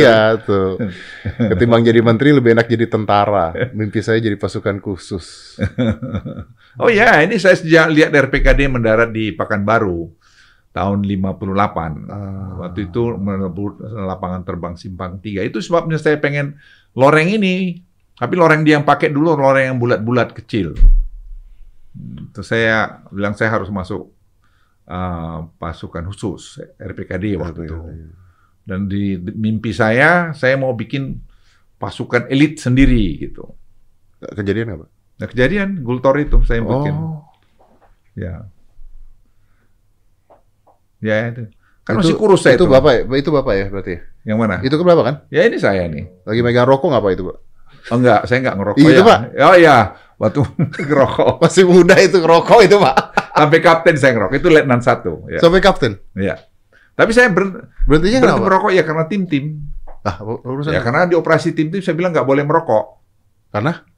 Iya tuh. Ketimbang jadi menteri lebih enak jadi tentara. Mimpi saya jadi pasukan khusus. Oh ya, ini saya sejak lihat RPKD mendarat di Pekanbaru tahun 58. Ah. Waktu itu melebur lapangan terbang Simpang 3. Itu sebabnya saya pengen loreng ini. Tapi loreng dia yang pakai dulu loreng yang bulat-bulat kecil. Hmm, Terus saya bilang saya harus masuk uh, pasukan khusus RPKD ya, waktu itu. Dan di, di mimpi saya, saya mau bikin pasukan elit sendiri gitu. Kejadian Oh. apa? Nah kejadian Gultor itu saya yang bikin. Ya. Ya itu. Kan masih kurus saya itu. itu. bapak ya? Itu bapak ya berarti. ya? Yang mana? Itu keberapa kan? Ya ini saya nih. Lagi megang rokok nggak, Pak itu pak? Oh enggak, saya enggak ngerokok Iya, ya. itu, Pak. Oh iya, waktu ngerokok. Masih muda itu ngerokok itu pak. Sampai kapten saya ngerokok. Itu letnan satu. Ya. Sampai kapten. Iya. Tapi saya ber, Berhentinya kenapa? berhenti merokok ya karena tim-tim. Ah, Iya, urusan Ya karena, karena di operasi tim-tim saya bilang nggak boleh merokok. karena